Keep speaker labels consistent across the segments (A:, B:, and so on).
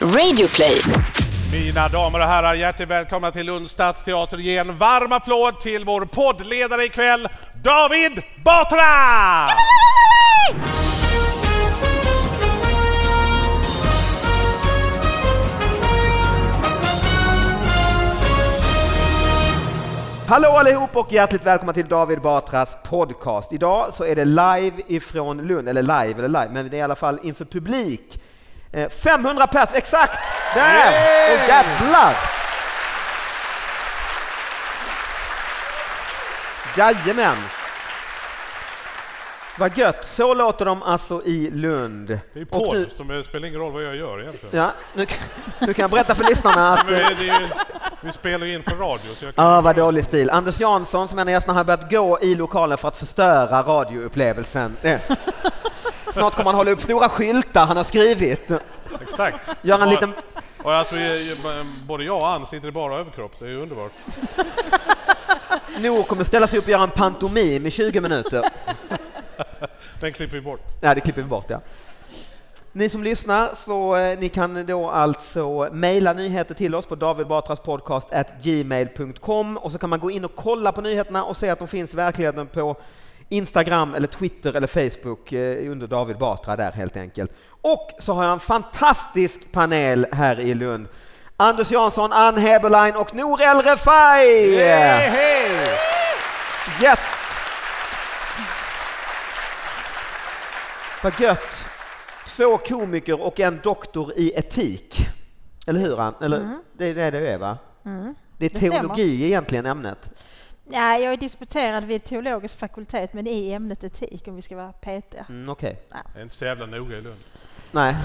A: Radioplay.
B: Mina damer och herrar, hjärtligt välkomna till Lunds stadsteater. Ge en varm applåd till vår poddledare ikväll, David Batra!
C: Hallå allihop och hjärtligt välkomna till David Batras podcast. Idag så är det live ifrån Lund, eller live eller live, men det är i alla fall inför publik. Eh, 500 pers, exakt! Där! Och jävlar! Jajamän! Vad gött, så låter de alltså i Lund.
B: Det är
C: Och
B: podd,
C: nu-
B: så det spelar ingen roll vad jag gör egentligen.
C: Ja, nu, kan- nu kan jag berätta för lyssnarna att
B: Men det är, det är, vi spelar ju in för radio, så jag kan...
C: Ja, Ah, vad dålig stil. Anders Jansson, som en av gästerna, har börjat gå i lokalen för att förstöra radioupplevelsen. Eh. Snart kommer han hålla upp stora skyltar han har skrivit.
B: Exakt.
C: Gör en
B: Och-
C: liten...
B: Och jag tror ju- ju- både jag och Ann sitter i bara överkropp, det är ju underbart.
C: Noor kommer ställa sig upp och göra en pantomim i 20 minuter.
B: Den klipper vi bort.
C: Nej, det klipper vi bort, ja. Ni som lyssnar, så eh, ni kan då alltså mejla nyheter till oss på davidbatraspodcast.gmail.com och så kan man gå in och kolla på nyheterna och se att de finns i verkligheten på Instagram eller Twitter eller Facebook eh, under David Batra där helt enkelt. Och så har jag en fantastisk panel här i Lund. Anders Jansson, Ann Heberlein och Nour El Refai!
B: hej!
C: Yes! Vad gött! Två komiker och en doktor i etik. Eller hur? Ann? Eller, Det är det du är, va? Det är
D: Mm. det stämmer.
C: teologi egentligen ämnet.
D: Nej, jag är disputerad vid teologisk fakultet, men i ämnet etik om vi ska vara petiga.
C: Mm, Okej.
B: Det är inte så jävla noga i Lund.
C: Nej.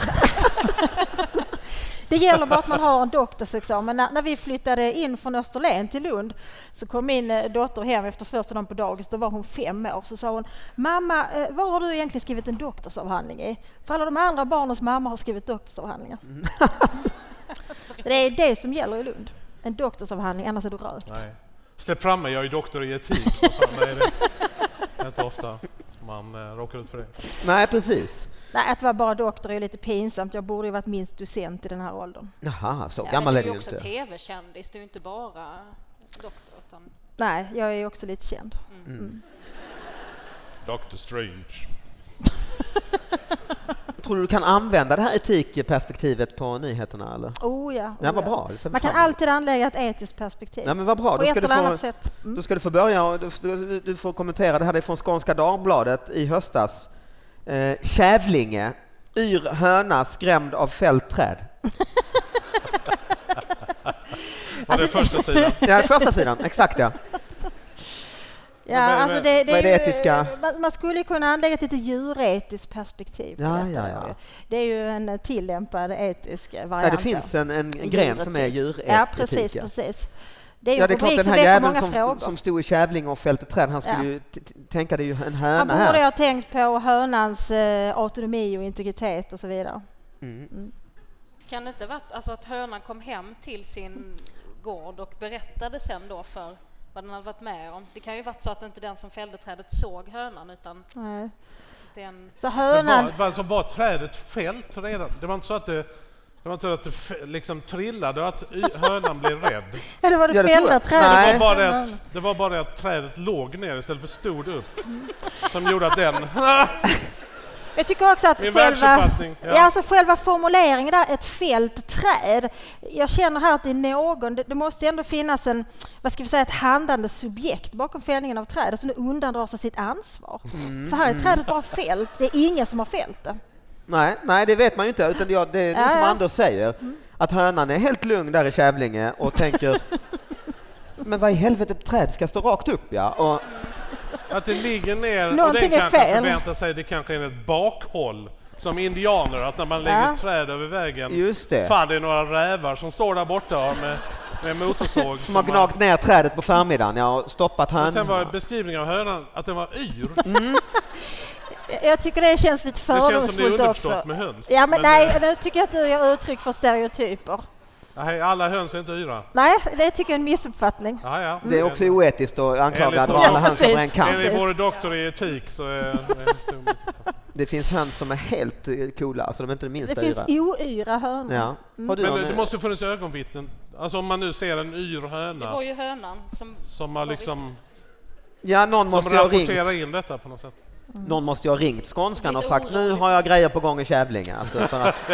D: Det gäller bara att man har en doktorsexamen. När, när vi flyttade in från Österlen till Lund så kom min eh, dotter hem efter första dagen på dagis, då var hon fem år, så sa hon Mamma, eh, vad har du egentligen skrivit en doktorsavhandling i? För alla de andra barnens mamma har skrivit doktorsavhandlingar. det är det som gäller i Lund. En doktorsavhandling, annars är du rökt.
B: Nej. Släpp fram mig, jag är doktor i etik. Vad fan, nej, det det är inte ofta man eh, råkar ut för det.
C: Nej, precis.
D: Nej, att vara bara doktor är ju lite pinsamt. Jag borde ju varit minst docent i den här åldern.
C: Jaha, så
E: Ja,
C: gammal är
E: men
C: du ju
E: också
C: inte.
E: tv-kändis, du är ju inte bara doktor. Utan...
D: Nej, jag är ju också lite känd.
B: Dr Strange.
C: Tror du du kan använda det här etikperspektivet på nyheterna? Eller?
D: Oh ja. Oh
C: Nej, vad
D: ja.
C: bra. Det ser vi
D: Man
C: fram
D: kan
C: emot.
D: alltid anlägga ett etiskt perspektiv.
C: Nej, men vad bra.
D: på
C: Då
D: ett
C: ska, du
D: eller
C: få,
D: annat sätt. Mm.
C: då ska du få börja och du får, du får kommentera. Det här är från Skånska Dagbladet i höstas. Eh, Kävlinge. Yr höna skrämd av fällt träd.
B: Var det
D: Alltså-
B: första sidan?
C: Ja, första sidan, exakt ja.
D: Ja,
B: vad-
D: alltså det, det
C: vad är det
D: ju-
C: etiska?
D: man- Man skulle ju kunna anlägga ett lite djuretiskt perspektiv. på
C: Ja,
D: detta
C: ja,
D: då
C: ja.
D: ju. Det är ju en tillämpad etisk variant.
C: ja det finns en, en
D: då.
C: gren som är djuretik.
D: Ja, precis, precis. Det är ju
C: Ja, det är klart
D: en publik
C: den
D: som
C: här
D: väcker många
C: jäveln
D: frågor.
C: som, som stod i Kävlinge och fällde träd, han skulle
D: Ja.
C: ju t- t- tänka det är ju en
D: Man
C: höna
D: borde ju
C: här.
D: ha tänkt på hönans eh, autonomi och integritet och så vidare.
C: Mm.
E: Kan det inte vara alltså, att hönan kom hem till sin gård och berättade sen då för vad den hade varit med om? Det kan ju varit så att inte den som fällde trädet såg hönan utan
D: Nej.
E: den...
D: Så
B: Men
D: hönan...
B: Var, var, alltså var trädet fällt redan? Det var inte så att det, det, var inte så att det f- liksom trillade och att y- hönan blev rädd?
D: Ja, det var det
C: Ja, det tror
D: fällda
C: jag.
D: trädet.
B: Det
C: Nej.
B: var, bara det, att, det var bara det att trädet låg ner istället för stod upp som gjorde att den...
D: Jag tycker också att
B: Min
D: själva,
B: världsuppfattning, ja.
D: ja. alltså själva formuleringen där, ett fält träd. Jag känner här att det är någon, det, det måste ändå finnas en, vad ska vi säga, ett handlande subjekt bakom fällningen av trädet som nu undandrar sig sitt ansvar.
B: Mm,
D: För här är trädet bara fällt, det är ingen som har fällt det.
C: Nej, nej, det vet man ju inte, utan det, det är
D: Ja,
C: nog som
D: ja. Mm.
C: Anders säger, att hönan är helt lugn där i Kävlinge och tänker men vad i helvete, ett träd ska stå rakt upp ja. Och,
B: Att det ligger ner och den
D: Någonting är
B: kanske
D: fel.
B: förväntar sig det kanske är ett bakhåll som indianer, att när man lägger
D: Ja.
B: ett träd över vägen,
C: Just det.
B: fan det är några rävar som står där borta med, med motorsåg.
C: som har gnagt ner trädet på förmiddagen ja, och stoppat
B: och sen var
C: hönan.
B: beskrivningen av hönan att den var
D: Mm.
B: yr.
D: Jag- Jag tycker det känns lite
B: känns som det är
D: fördomsfullt
B: underförstått
D: också.
B: med höns.
D: Ja, men,
B: Men eh,
D: nej, nu tycker jag att du ger uttryck för stereotyper.
B: Nej, alla höns är inte yra.
D: Nej, det tycker jag är en missuppfattning.
B: Ja, ja. Mm.
C: Det är också oetiskt att anklaga
B: Enligt-
C: alla
D: Ja,
C: höns över en
D: precis.
C: kam.
B: Enligt vår doktor i etik så är det en stor missuppfattning.
C: Det finns höns som är helt eh, coola, alltså de är inte det minsta
D: Det finns
C: yra.
D: oyra hönor.
C: Ja. Har du
B: Men
C: någon,
B: det
C: eh,
B: måste ju funnits ögonvittnen. Alltså om man nu ser en yr
E: Det var
B: höna
E: ju hönan som...
B: som har liksom
C: ja, någon
B: som
C: måste ju ha ringt.
B: rapporterar in detta på något sätt.
C: Någon måste ju ha ringt skånskan och
E: Lite
C: sagt nu
E: oroligt.
C: har jag grejer på gång i Kävlinge. Alltså, för att,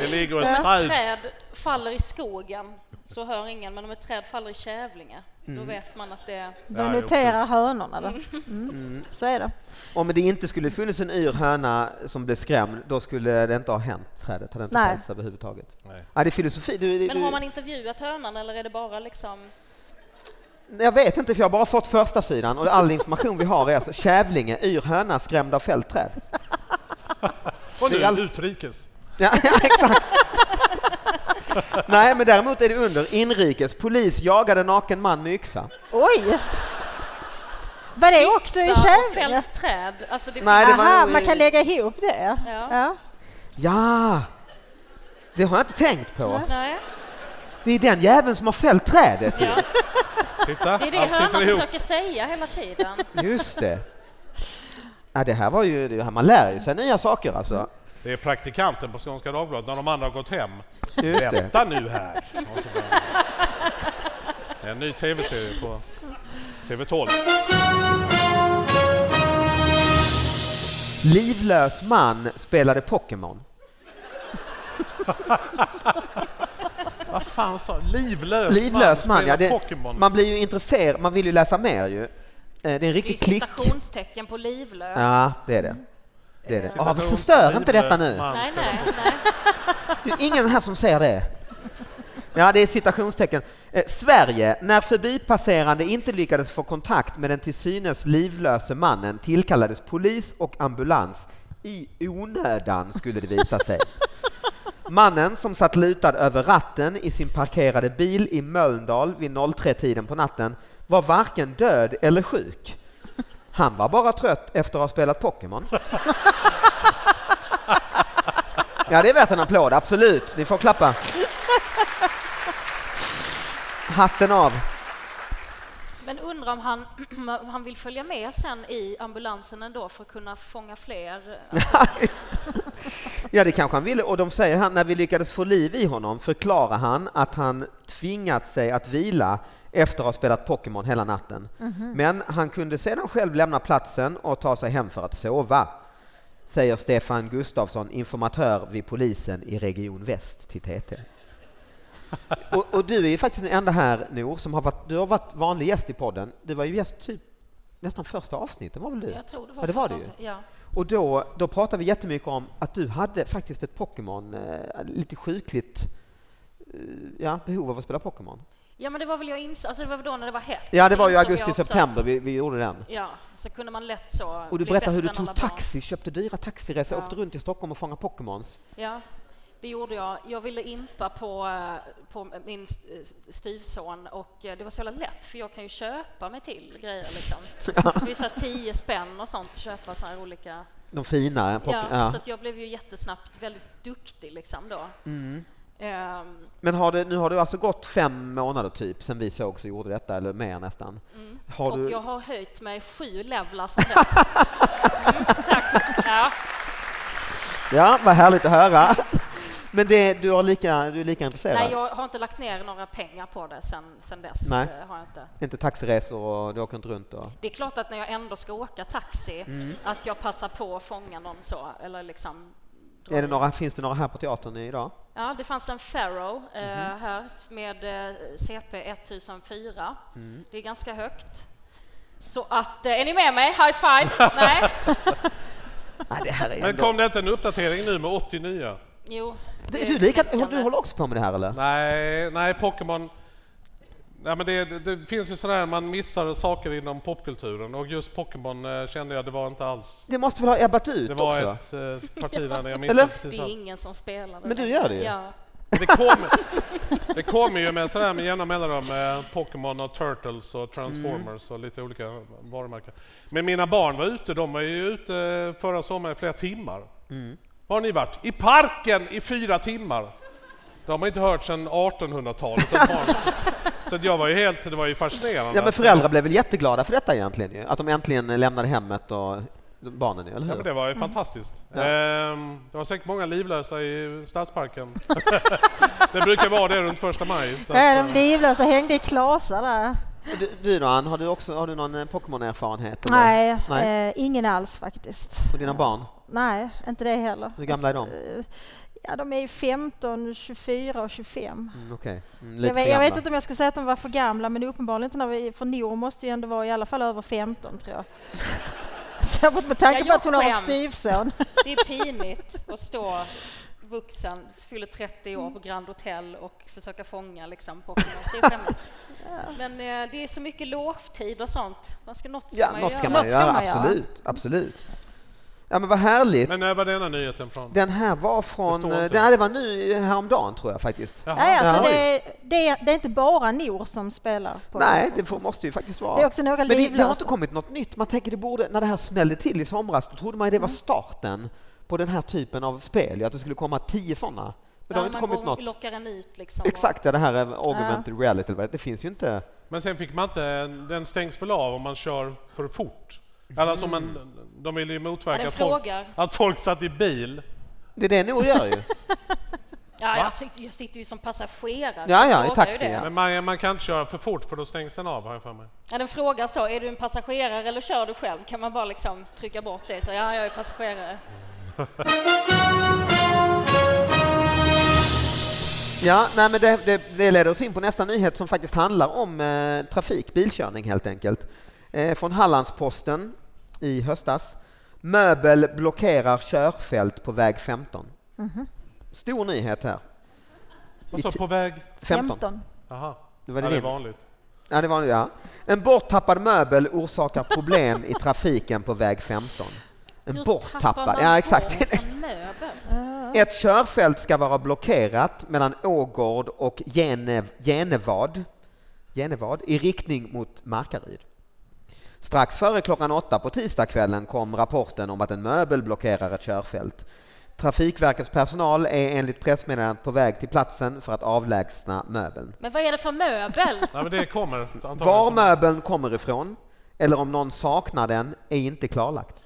B: Det ligger ett
E: Om ett
B: träd.
E: träd faller i skogen så hör ingen, men om ett träd faller i Kävlinge,
C: Mm.
E: då vet man att det...
D: Då
B: Ja, jo,
D: noterar hönorna det. Mm. Så är det.
C: om det inte skulle funnits en yr höna som blev skrämd, då skulle det inte ha hänt trädet. Hade inte
D: Nej.
C: fällts överhuvudtaget.
B: Nej.
C: Ja, det är filosofi. Du, du,
E: Men har man
C: du,
E: intervjuat hönan eller är det bara liksom...
C: jag vet inte, för jag har bara fått första sidan och all information vi har är alltså Kävlinge, yr höna skrämd av fällträd.
B: Och
C: Det
B: nu
C: är all-
B: utrikes.
C: Ja, ja, exakt. Nej, men däremot är det under inrikes. Polis jagade naken man med yxa.
D: Oj! Var det också i
E: Yxa och
D: Kävlinge?
E: fällt träd. Alltså det
C: Nej, det var
D: Aha,
C: nog-
D: man kan lägga ihop det.
E: Ja.
D: Ja.
C: Ja, det har jag inte tänkt på.
E: Nej,
C: Det är den jäveln som har fällt trädet. ju.
E: ja.
B: Titta,
E: Det är det
B: allt
E: hönan
B: sitter ihop.
E: försöker säga hela tiden.
C: Just det. Ja, det här var ju, det här, man lär ju sig nya saker alltså.
B: Det är praktikanten på Skånska Dagbladet när de andra har gått hem.
C: Just det.
B: Vänta nu här! Och så bara- Det är en ny tv-serie på TV12.
C: Livlös man spelade Pokémon.
B: Vad fan sa Livlös,
C: Livlös man, ja,
B: spelar
C: det,
B: Pokémon.
C: man blir ju intresserad, man vill ju läsa mer ju. Eh, Det är en
E: Det är ju
C: riktig klick.
E: citationstecken på livlös.
C: Ja, det är det. det, är det.
B: Citations-
C: Ah, men förstör inte detta
B: livlös
C: nu.
B: man
E: Nej,
B: spelar
E: nej,
B: Pokémon.
E: nej.
C: Det är ingen här som säger det. Ja, det är citationstecken. Eh, Sverige, när förbipasserande inte lyckades få kontakt med den till synes livlöse mannen tillkallades polis och ambulans. I onödan skulle det visa sig. Mannen som satt lutad över ratten i sin parkerade bil i Mölndal vid 03-tiden på natten var varken död eller sjuk. Han var bara trött efter att ha spelat Pokémon. Ja, det är värt en applåd, absolut. Ni får klappa. Hatten av.
E: Men undrar om han, om han vill följa med sen i ambulansen ändå för att kunna fånga fler.
C: ja, det kanske han ville. Och de säger han, när vi lyckades få liv i honom förklarar han att han tvingat sig att vila efter att ha spelat Pokémon hela natten. Men han kunde sedan själv lämna platsen och ta sig hem för att sova, säger Stefan Gustafsson, informatör vid polisen i Region Väst till TT. Och, och du är ju faktiskt den enda här, Nor, som har varit, du har varit vanlig gäst i podden. Du var ju gäst typ nästan första avsnittet, var väl du?
E: Jag tror det var
C: ja, det var du ju.
E: förstås- Ja.
C: Och då, då pratade vi jättemycket om att du hade faktiskt ett Pokémon, eh, lite sjukligt eh, ja, behov av att spela Pokémon.
E: ja, men det var väl jag ins- alltså det var väl då när det var hett.
C: Ja, det var ju
E: Insåg jag också
C: augusti-september
E: att-
C: vi, vi gjorde den.
E: Ja, så kunde man lätt så
C: Och du
E: bli
C: berättade hur du
E: bättre än
C: tog
E: alla barn.
C: taxi, köpte dyra taxiresor,
E: Ja.
C: åkte runt i Stockholm och fångade Pokémons.
E: Ja, det gjorde jag. Jag ville impa på, eh, på min st- eh, styvson och eh, det var så jävla lätt för jag kan ju köpa mig till grejer liksom. Det är så här 10 spänn och sånt att köpa så här olika.
C: De fina
E: Ja,
C: Pokémon. Ja.
E: Så att jag blev ju jättesnabbt väldigt duktig liksom då.
C: Mm.
E: Ehm,
C: Men har du, nu har du alltså gått fem månader typ sen vi såg så gjorde detta, eller mer nästan. Har
E: Mm. och
C: du,
E: jag har höjt mig sju levlar sedan dess. Mm, tack. Ja.
C: Ja, vad härligt att höra. Men det, du, har lika, du är lika intresserad?
E: Nej, jag har inte lagt ner några pengar på det sen, sen dess.
C: Nej.
E: eh, Har jag inte.
C: Inte taxiresor och du åker inte runt? Och...
E: Det är klart att när jag ändå ska åka taxi,
C: Mm.
E: att jag passar på att fånga någon så, eller liksom... dra
C: Är det
E: dit.
C: några, finns det några här på teatern idag?
E: Ja, det fanns en Pharaoh eh,
C: Mhm.
E: här med eh, CP 1004.
C: Mm.
E: Det är ganska högt. Så att, eh, är ni med mig? High five! Nej?
C: Nej, det här är
B: Men
C: ändå...
B: kom det inte en uppdatering nu med 80 nya?
E: Jo.
C: Du,
E: det
C: du, lika,
E: knäckande.
C: du håller också på med det här eller?
B: Nej, nej Pokémon... Nej, men det, det, det finns ju sådär man missar saker inom popkulturen och just Pokémon eh, kände jag det var inte alls.
C: Det måste väl ha ebbat ut
B: Det var
C: också?
B: ett eh, parti där jag
C: Eller?
B: missade
E: Det
B: precis
E: är
B: allt.
E: ingen som spelar det
C: Men du
E: längre.
C: gör det ju.
E: Ja.
B: Det kommer det kommer ju med sådär med jämna mellanrum med Pokémon och Turtles och Transformers och lite olika varumärken. Men mina barn var ute, de var ju ute eh, förra sommaren i flera timmar. Var har ni varit? I parken i fyra timmar! De har inte hört sedan 1800-talet. att barn- Så att jag var ju helt, det var ju fascinerande.
C: Ja, men föräldrar blev väl jätteglada för detta egentligen ju? Att de äntligen lämnade hemmet och barnen, eller
B: Ja,
C: hur?
B: men det var ju fantastiskt.
C: Ja.
B: Ehm, det var säkert många livlösa i stadsparken. det brukar vara det runt första maj. Så
D: Nej,
B: att, eh,
D: de livlösa hängde i klasar där.
C: Du, du då Ann, har du, också, har du någon eh, Pokémon-erfarenhet? eller?
D: Nej,
C: Nej.
D: Eh, ingen alls faktiskt.
C: Och dina barn?
D: Nej, inte det heller.
C: Hur gamla är de?
D: Eh, Ja, de är ju 15, 24 och 25.
C: Mm, Okej. Mm, lite
D: Jag vet,
C: för
D: jag vet
C: gamla.
D: inte om jag skulle säga att de var för gamla, men uppenbarligen inte. När vi, för Noor måste ju ändå vara i alla fall över 15, tror jag. Särskilt med tanke
E: Ja,
D: på
E: jag
D: att hon har en
E: skäms.
D: styvson.
E: Det är pinigt att stå vuxen, fyller 30 år på Grand Hotel och försöka fånga liksom Pokémons. Det är skämmigt. Men eh, det är så mycket lovtid och sånt. Man ska, något ska
C: Ja,
E: man
C: något
E: ju
C: ska
E: göra.
C: man
D: Något
C: ju
D: ska
C: göra,
D: man göra.
C: absolut. Absolut. Ja men vad härligt.
B: men när var denna nyheten från?
C: Den här var
B: Det
C: från...
B: står
C: Det,
B: inte.
C: det var nu häromdagen tror jag faktiskt.
B: Jaha.
D: Nej, alltså
C: Ja,
D: det, det, är- det är inte bara Noor som spelar. På
C: Nej, det får, måste ju faktiskt vara.
D: Det är också några
C: men det, det har
D: livlösa.
C: inte kommit något nytt. Man tänker det borde, när det här smällde till i somras, då trodde man ju det var
E: Mm.
C: starten på den här typen av spel, ju, att det skulle komma tio sådana. Men det har
E: Ja,
C: inte
E: man
C: kommit
E: går och
C: något.
E: lockar en ut liksom.
C: Exakt, ja, det här är augmented reality, det finns ju inte.
B: Men sen fick man inte, den stängs väl av om man kör för fort? Eller som man, de ville ju
E: Ja,
B: motverka
E: den
B: att folk,
E: frågar.
B: att folk satt i bil.
C: Det är det Nour gör ju.
E: Ja,
B: Va?
E: jag, sitter, jag sitter ju som passagerare.
C: Ja, ja,
E: Den
C: i
E: frågar ju
C: taxi,
E: det.
C: ja.
B: Men man, man kan inte köra för fort för då stängs den av, har jag för mig.
E: Ja, den frågar så, är du en passagerare eller kör du själv? Kan man bara liksom trycka bort det? Så ja, jag är passagerare.
C: Ja, nej, men det, det, det leder oss in på nästa nyhet som faktiskt handlar om eh, trafik, bilkörning helt enkelt. Eh, från Hallandsposten i höstas. Möbel blockerar körfält på väg 15.
E: Mhm.
C: Stor nyhet här.
B: Och så
C: I ti-
B: på väg...
C: 15.
B: Jaha.
C: Det
B: ja,
C: var det
B: det är
C: din.
B: vanligt.
C: Ja, det var, ja. En borttappad möbel orsakar problem i trafiken på väg 15. En
E: Hur tappar
C: borttappad,
E: man
C: ja exakt.
E: bort en möbel?
C: Ett körfält ska vara blockerat mellan Ågård och Genev, Genevad, Genevad i riktning mot Markaryd. Strax före klockan åtta på tisdagskvällen kom rapporten om att en möbel blockerar ett körfält. Trafikverkets personal är enligt pressmeddelandet på väg till platsen för att avlägsna möbeln.
E: Men vad är det för möbel?
B: Nej, men det kommer antagligen.
C: Var möbeln kommer ifrån eller om någon saknar den är inte klarlagt.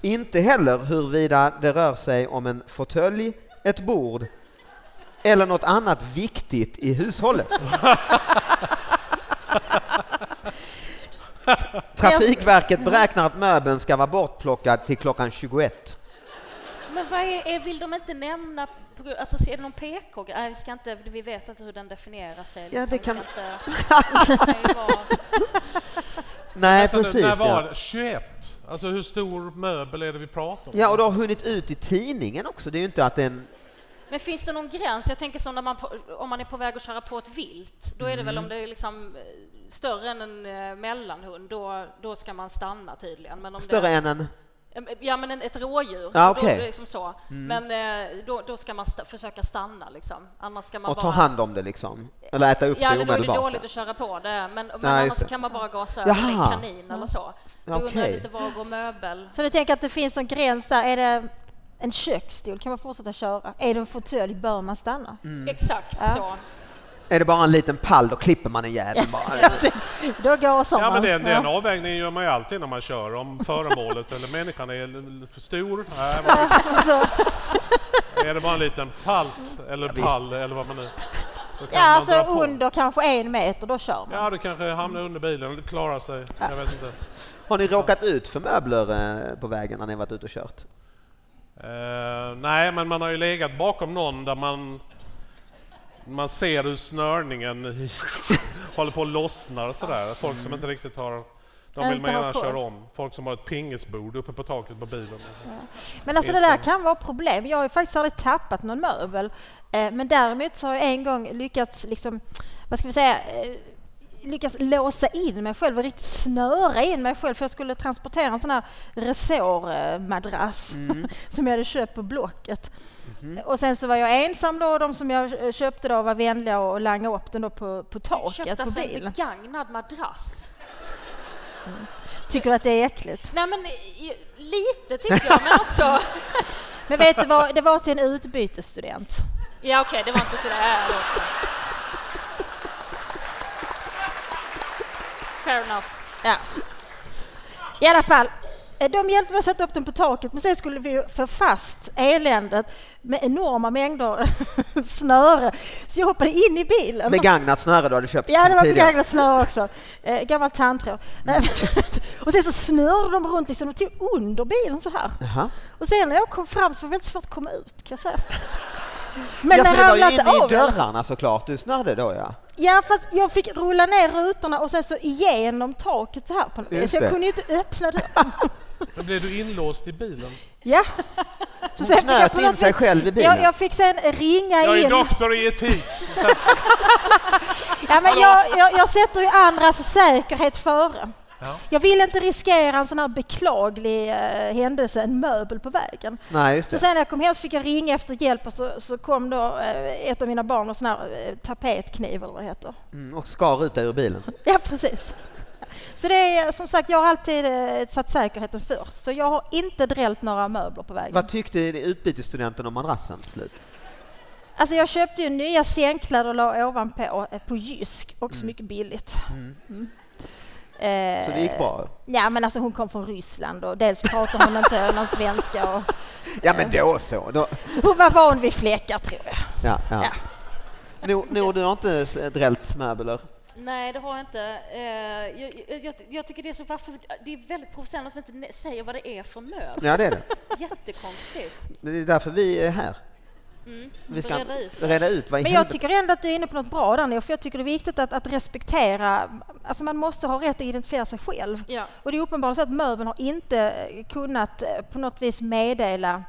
C: inte heller huruvida det rör sig om en fåtölj, ett bord eller något annat viktigt i hushållet. Trafikverket beräknar att möbeln ska vara bortplockad till klockan 21.
E: Men vad är, är, vill de inte nämna? på grund- Alltså, är det någon PK? Nej, vi, ska inte, vi vet inte hur den definierar sig. Liksom.
C: det kan-
E: Vi ska inte, det kan ju vara,
C: Nej,
B: Vänta nu,
C: precis.
B: När var
C: Ja.
B: det? 21? Alltså hur stor möbel är det vi pratar om?
C: ja, och det har hunnit ut i tidningen också. Det är ju inte att den
E: men finns det någon gräns? Jag tänker som när man, på- om man är på väg att köra på ett vilt, då är det
C: Mm.
E: väl om det är liksom eh, större än en eh, mellanhund, då, då ska man stanna tydligen. Men om
C: större
E: det, eh,
C: än en...
E: Ja, men en- ett rådjur.
C: Ja,
E: då,
C: okej. Mm.
E: är det liksom så. Men eh, då, då ska man sta- försöka stanna liksom. Annars ska man
C: och
E: bara...
C: ta hand om det liksom? Eller äta upp
E: ja,
C: det
E: eller då är det
C: omedelbart?
E: dåligt att köra på det. Men, men
C: Nej,
E: annars
C: just det.
E: så kan man bara gasa över
C: Jaha.
E: en kanin eller så. Då
C: Ja,
E: undrar jag
C: okej.
E: lite var går möbel?
D: Så du tänker att det finns en gräns där. Är det en köksstol? Kan man fortsätta köra? Är det en fåtölj? Bör man stanna?
B: Mm.
E: Exakt
D: Ja.
E: så.
C: Är det bara en liten pall, då klipper man en jävel bara.
D: Då gasar
B: Ja,
D: man.
B: men den, den avvägningen gör man ju alltid när man kör, om föremålet eller människan är l- för stor. Nej, vad-
D: Så,
B: är det bara en liten palt eller pall eller vad man nu... då kan
D: ja,
B: man
D: alltså
B: dra på.
D: under kanske en meter, då kör man.
B: Ja, du kanske hamnar under bilen och klarar sig. Jag vet inte.
C: Har ni råkat ut för möbler eh, på vägen när ni har varit ute och kört?
B: Eh, nej, men man har ju legat bakom någon där man... Man ser hur snörningen håller på att lossna och sådär. Folk som inte riktigt har... De
D: Jag
B: vill
D: inte
B: man
D: har
B: gärna
D: koll.
B: köra om. Folk som har ett pingisbord uppe på taket på bilen.
D: Men alltså det där kan vara problem. Jag har ju faktiskt aldrig tappat någon möbel. Eh, Men däremot så har jag en gång lyckats, liksom, vad ska vi säga, eh, lyckats låsa in mig själv och riktigt snöra in mig själv för jag skulle transportera en sån här resårmadrass som jag hade köpt på Blocket. Och sen så var jag ensam då och de som jag eh, köpte då var vänliga och langade upp den då på, på
E: Du
D: taket
E: köpte
D: på
E: alltså en
D: bilen.
E: begagnad madrass.
D: Tycker du att det är äckligt?
E: Nej men i- lite tycker jag, men också...
D: Men vet du vad, det var till en utbytesstudent.
E: Ja okej, det var inte så det här också. Fair enough.
D: Ja. I alla fall, eh, de hjälpte mig att sätta upp den på taket men sen skulle vi ju få fast eländet med enorma mängder snöre. Så jag hoppade in i bilen.
C: Begagnat snöre du hade köpt
D: Ja, det var
C: tidigare.
D: begagnat snöre också. Eh, gammalt tandtråd. Nej, men- och sen så snörde de runt liksom, och tog under bilen så här.
C: Jaha.
D: Och sen när jag kom fram så var det väldigt svårt att komma ut kan jag säga. Men
C: ja,
D: den
C: för det var
D: ramlade
C: ju
D: inte
C: inne i
D: av. eller?
C: dörrarna såklart du snörde då ja.
D: Ja, fast jag fick rulla ner rutorna och sen så igenom taket så här. På något
C: Just
D: vis. Så
C: det.
D: jag kunde ju inte öppna dörren.
B: Men blev du inlåst i bilen?
D: Ja. Så
C: Hon knöt in sig själv i bilen.
D: Jag, jag fick sen ringa
B: Jag är
D: in.
B: doktor i etik.
D: Ja, men jag, jag, jag sätter ju andras säkerhet före.
B: Ja.
D: Jag vill inte riskera en sån här beklaglig eh, händelse, en möbel på vägen.
C: Nej, just
D: Så
C: det.
D: sen när jag kom hem så fick jag ringa efter hjälp och så, så kom då eh, ett av mina barn med sån här eh, tapetkniv eller vad det heter.
C: Mm, och skar ut dig ur bilen.
D: Ja, precis. Så det är som sagt, jag har alltid eh, satt säkerheten först. Så jag har inte drällt några möbler på vägen.
C: Vad tyckte utbytesstudenten om madrassen till slut?
D: Alltså jag köpte ju nya sängkläder och la ovanpå eh, på Jysk, också mycket billigt. Mm.
C: Så det gick bra?
D: Ja, men alltså hon kom från Ryssland och dels pratar hon inte någon svenska och
C: Ja men då så. Då,
D: hon var van vid fläckar tror jag.
C: ja, ja.
D: Ja.
C: Nor, Nor, du har inte s- drällt möbler?
E: Nej, det har jag inte. Eh, Jag, jag, jag, jag tycker det är så varför, det är väldigt provocerande att man inte ne- säger vad det är för möbel.
C: Ja det är det.
E: Jättekonstigt.
C: Det är därför vi är här.
E: Mm.
C: Vi ska
E: Reda ut.
C: reda ut vad i
D: Men jag
C: helvete...
D: tycker ändå att du är inne på något bra där nu, för jag tycker det är viktigt att, att respektera, alltså man måste ha rätt att identifiera sig själv.
E: Ja.
D: Och det är uppenbart så att möbeln har inte eh, kunnat eh, på något vis meddela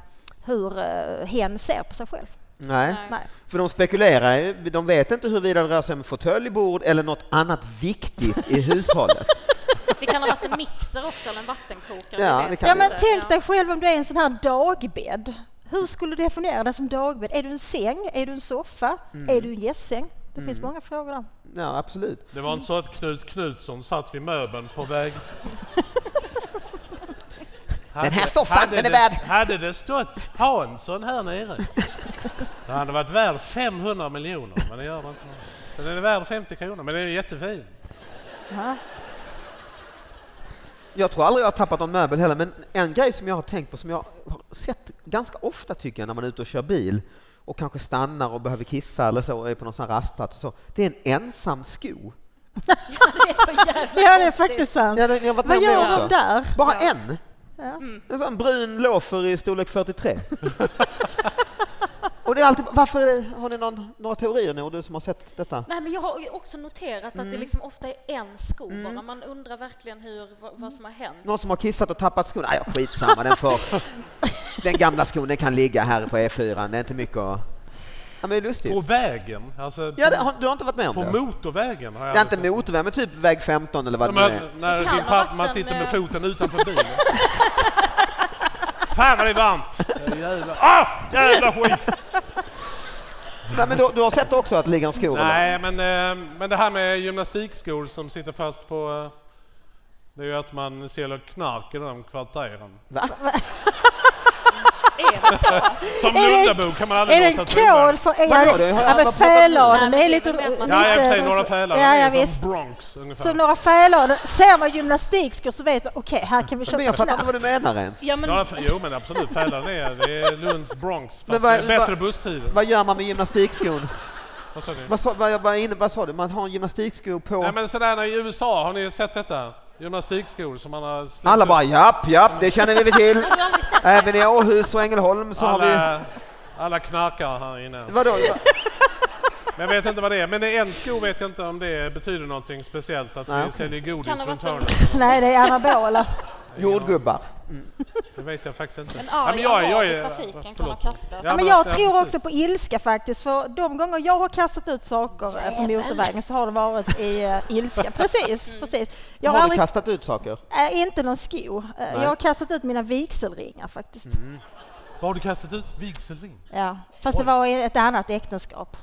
D: hur eh, hen ser på sig själv.
C: Nej.
E: Nej.
D: Nej.
C: För de spekulerar ju. De vet inte huruvida det rör sig om fåtölj, bord eller något annat viktigt i hushållet.
E: Det kan ha varit en mixer också, eller en vattenkokare.
C: Ja,
E: vet
C: det kan
D: Ja
E: jag
D: men
E: inte.
D: tänk dig själv om du är en sån här dagbädd. Hur skulle du definiera dig som dagbädd? Är du en säng? Är du en soffa? Är du en gästsäng? Det finns många frågor där.
C: Ja, absolut.
B: Det var inte så att Knut Knutsson satt vid möbeln på väg...
C: Den här soffan,
B: hade
C: den
B: det-
C: är värd-
B: Hade det stått Hansson här nere, då hade det varit värd 500 miljoner. Men det gör det inte. Så Den är värd 50 kronor, men den är jättefin.
D: Ja.
C: Jag tror aldrig jag har tappat någon möbel heller, men en grej som jag har tänkt på som jag har sett ganska ofta tycker jag när man är ute och kör bil och kanske stannar och behöver kissa eller så och är på någon sån här rastplats och så. Det är en ensam sko.
E: Det är så jävla
D: ja det är
E: konstigt.
D: faktiskt sant.
C: Ja, det- jag har varit
D: Vad
C: med om det
D: gör de
C: också.
D: där?
C: Bara
E: Ja.
C: en.
D: Ja.
C: En sån brun loafer i storlek 43. och det är alltid, varför är det, har ni någon, några teorier nu, du som har sett detta?
E: Nej, men jag har ju också noterat att
D: Mm.
E: det liksom ofta är en sko bara. Man undrar verkligen hur, vad, vad som har hänt.
C: Någon som har kissat och tappat skon? Nej, skitsamma, den får... Den gamla skon den kan ligga här på E4, det är inte mycket att... Ja, men det är lustigt.
B: På vägen, alltså
C: Ja, det,
B: på,
C: har, du har inte varit med om
B: på
C: det?
B: motorvägen har jag
C: Det är inte
B: aldrig sett.
C: motorväg, men typ väg 15 eller vad det nu
B: Men
C: är.
B: när
E: kan
B: sin
E: ha
B: pappa,
E: varit
B: man
E: en,
B: sitter med
E: eh,
B: foten utanför bilen. Fan vad det är varmt! Jävla, ah, jävla skit!
C: Nej, men du, du har sett också att det ligger en skor? eller?
B: Nej, men, eh, men det här med gymnastikskor som sitter fast på... eh, Det är ju att man säljer knark i de kvarteren.
C: Va?
E: Är det så?
B: Som
D: Är det-
B: Lundabo kan man aldrig
D: är det
B: låta
D: en kol
B: tobak.
D: för...
C: Vadå,
D: Ja,
C: det
D: det,
C: har jag
D: ja
C: aldrig pratat
D: men
C: om.
D: fäladen, det är
E: Nej,
D: lite...
E: det är med-
D: lite
B: Ja, i och för sig några fälare.
D: Ja,
B: det
D: ja
B: är
D: visst.
B: som Bronx ungefär.
D: Som några fäladen. Ser man gymnastikskor så vet man, okej, här kan vi
C: Men
D: köpa
C: jag fattar
D: knark.
C: inte vad du menar ens.
E: Ja, men
B: några f- jo, men absolut. Fälaren är, det är Lunds Bronx,
C: Men
B: fast
C: vad-
B: med bättre
C: vad-
B: busstider.
C: Vad gör man med gymnastikskon?
B: Vad sa du?
C: Vad sa, vad, vad, inne- vad sa du? Man har en gymnastiksko på...
B: Nej, men sådär när i USA, har ni sett detta? Gymnastikskor som man har släppt
C: Alla
B: ut.
C: bara japp, japp, det känner vi till.
E: har du aldrig sett det?
C: Även i Åhus och Ängelholm så har vi...
B: alla, alla knarkare här inne.
C: Vadå?
B: Men jag vet inte vad det är. Men det är en sko vet jag inte om det betyder någonting speciellt att
C: Nej,
B: vi
C: okej.
B: säljer
E: Kan
B: godis
E: ha
B: runt
E: varit
B: hörnet.
D: Nej, det är anabola.
C: Jordgubbar.
B: Det vet jag faktiskt inte.
E: En arg
B: jag-
E: arab
B: jag
E: i
B: är-
E: trafiken kan
B: förlåt.
E: ha kastat.
B: Ja,
D: men
B: men
D: jag
B: att- ja,
D: tror
B: precis.
D: också på ilska faktiskt, för de gånger jag har kastat ut saker eh, på motorvägen så har det varit i eh, ilska. Precis, precis. Mm. Jag har
C: Har du
D: aldrig,
C: kastat ut saker?
D: eh, inte någon sko. Eh, Jag har kastat ut mina vigselringar faktiskt.
B: Mm. Vad har du kastat ut? Vigselring?
D: Ja. Fast det var i ett annat äktenskap.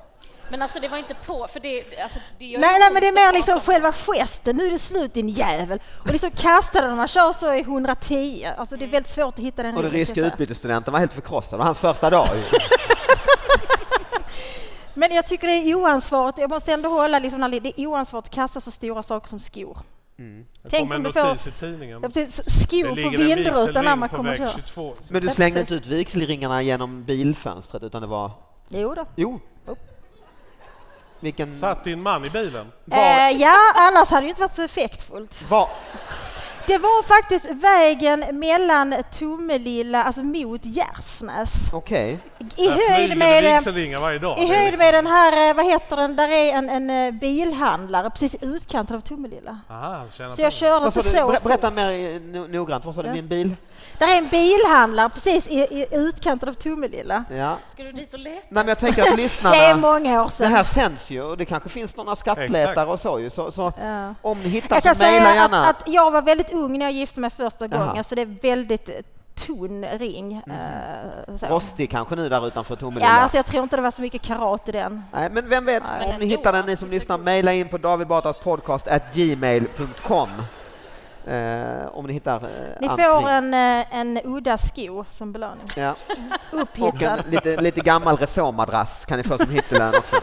E: Men alltså det var inte på, för det... Alltså, det gör
D: Nej,
E: ju
D: nej, men det är
E: ont att
D: mer liksom
E: prata
D: själva
E: om.
D: gesten. Nu är det slut din jävel. Och liksom kasta den, man kör så i 110. Alltså det är väldigt svårt att hitta den
C: Och den
D: regeln,
C: ryska
D: kan jag säga.
C: utbytesstudenten var helt förkrossad. Det var hans första dag. ju.
D: Men jag tycker det är oansvarigt. Jag måste ändå hålla liksom, när det är oansvarigt att kasta så stora saker som skor.
B: Det
D: Tänk
B: kom en
D: om du får-
B: notis i tidningen.
D: Ja, precis. Skor på vindrutan när man kommer
B: väg
D: på.
B: 22.
C: Men du
D: Ja,
C: slängde inte ut vigselringarna genom bilfönstret utan det var...
D: Jo då.
C: Jo!
D: Oh.
C: Vilken...
B: Satt din man i bilen?
C: Var,
D: Eh, ja, annars hade det ju inte varit så effektfullt.
C: var,
D: Det var faktiskt vägen mellan Tomelilla, alltså mot Gärsnäs.
C: Okej.
D: I
B: Där flyger
D: höjd
B: det
D: med...
B: vigselringar varje dag.
D: I
B: Det är
D: höjd
B: liksom-
D: med den här, eh, vad heter den, där är en, en eh, bilhandlare precis i utkanten av Tomelilla.
B: Aha, han tjänar
D: Så jag
B: pengar.
D: körde
C: Vad sa
D: inte
C: du?
D: så.
C: Ber- Berätta mer eh, no- noggrant. Vad sa du?
D: Ja.
C: Min bil?
D: Där är en bilhandlare precis i, i utkanten av Tomelilla.
C: Ja.
E: Ska du dit och leta?
C: Nej, men jag tänker att
D: Det är
C: lyssnarna...
D: många år
C: Det
D: sedan.
C: här sänds ju och det kanske finns några skattletare
B: Exakt.
C: och så ju. Så, så
D: Ja.
C: om ni hittar
D: Jag kan
C: så mejla
D: säga
C: gärna.
D: att, att jag var väldigt ung när jag gifte mig första
C: Jaha. Mhm.
D: gången, så det är väldigt eh, tunn ring. eh, så.
C: Rostig kanske nu där utanför
D: Ja,
C: Tomelilla.
D: alltså jag tror inte det var så mycket karat i den.
C: Nej, men vem vet,
D: Nej.
C: om
E: Men
C: ni
E: ändå,
C: hittar den, ni
E: alltså,
C: som
E: det
C: lyssnar,
E: går.
C: mejla in på davidbatrasspodcast.gmail.com eh, om ni hittar eh,
D: Ni
C: Anns
D: får
C: ring.
D: en, eh, en udda sko som belöning.
C: Ja. Och
D: Upphittad.
C: en lite, lite gammal resåmadrass kan ni få som hittelön också.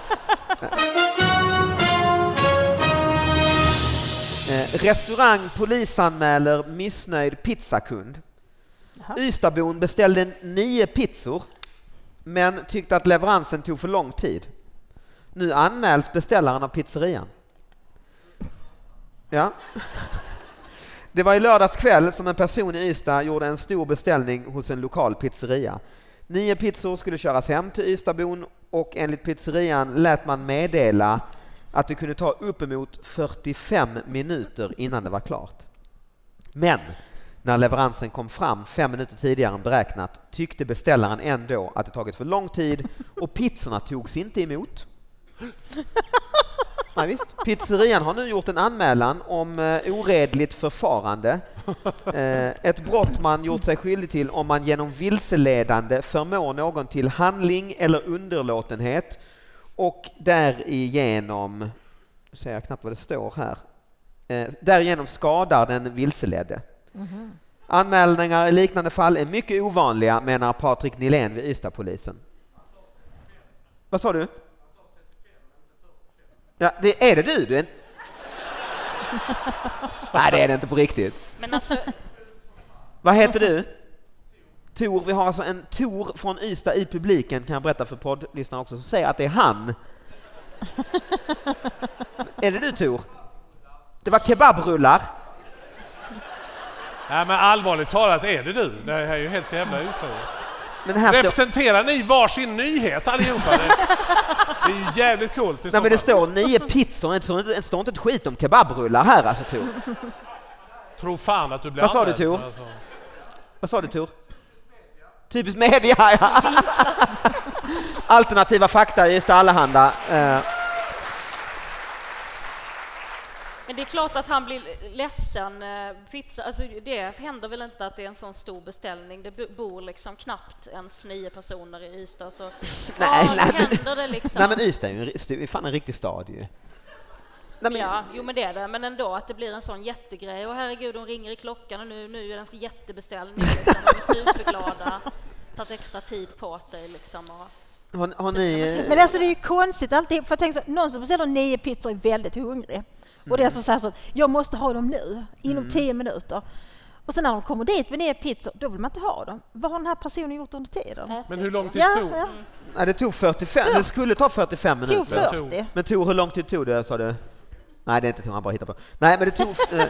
C: Eh, Restaurang polisanmäler missnöjd pizzakund.
D: Jaha.
C: Ystadsbon beställde nio pizzor men tyckte att leveransen tog för lång tid. Nu anmäls beställaren av pizzerian. Ja. Det var i lördags kväll som en person i Ystad gjorde en stor beställning hos en lokal pizzeria. Nio pizzor skulle köras hem till Ystadbon och enligt pizzerian lät man meddela att det kunde ta uppemot 45 minuter innan det var klart. Men när leveransen kom fram fem minuter tidigare än beräknat tyckte beställaren ändå att det tagit för lång tid och pizzorna togs inte emot. Nej, visst. Pizzerian har nu gjort en anmälan om eh, oredligt förfarande. Eh, ett brott man gjort sig skyldig till om man genom vilseledande förmår någon till handling eller underlåtenhet och därigenom, nu ser jag knappt vad det står här, eh, därigenom skadar den vilseledde. Anmälningar i liknande fall är mycket ovanliga menar Patrik Nilén vid Ystadpolisen. Vad sa du? Ja, det är det du? du är... en- Nej, det är det inte på riktigt.
E: Men alltså,
C: Vad heter du? Tor, vi har alltså en Tor från Ystad i publiken kan jag berätta för poddlyssnarna också, som säger att det är han. är det du Tor? Det var kebabrullar.
B: Nej, men allvarligt talat, är det du? Det här är ju helt jävla otroligt.
C: Men här står...
B: Representerar ni varsin nyhet allihopa? Det, det är ju jävligt coolt. i så
C: Nej men det
B: fall.
C: står nio pizzor, det står inte, det står inte ett skit om kebabrullar här alltså Tor.
B: Tro fan att du blir
C: Vad sa du,
B: anmäld,
C: Tor?
B: alltså.
C: Vad sa du Tor? Typiskt media, ja. Alternativa fakta i Ystad Allehanda. Eh,
E: men det är klart att han blir ledsen. eh, Pizza, alltså det händer väl inte att det är en sån stor beställning. Det bo- bor liksom knappt ens nio personer i Ystad. Så
C: Nej,
E: ja,
C: nej,
E: då
C: men-
E: händer det liksom.
C: Nej men Ystad är ju en ri- stu- är fan en riktig stad ju. Nej, men,
E: Ja, jo men det är det. Men ändå att det blir en sån jättegrej. Och herregud, de ringer i klockan och nu, nu är det en jättebeställning. Liksom. De är superglada. Tagit extra tid på sig liksom. Och,
C: Har, har ni... eh,
D: Men alltså det är ju konstigt alltid. För jag tänker så, någon som beställer nio pizzor är väldigt hungrig. Och
C: Mm.
D: det är som säger så att jag måste ha dem nu, inom tio minuter. Och sen när de kommer dit med nio pizzor, då vill man inte ha dem. Vad har den här personen gjort under tiden?
E: ätit
B: Men hur lång
E: det.
B: tid
D: Ja,
B: tog Mm.
D: ja.
C: Nej, det tog 45, det skulle ta 45
D: Tog
C: minuter.
D: 40.
C: Men Tor, hur lång tid tog det sa du? Nej, det är inte Tor, han bara hittar på. Nej, men det tog... Eh,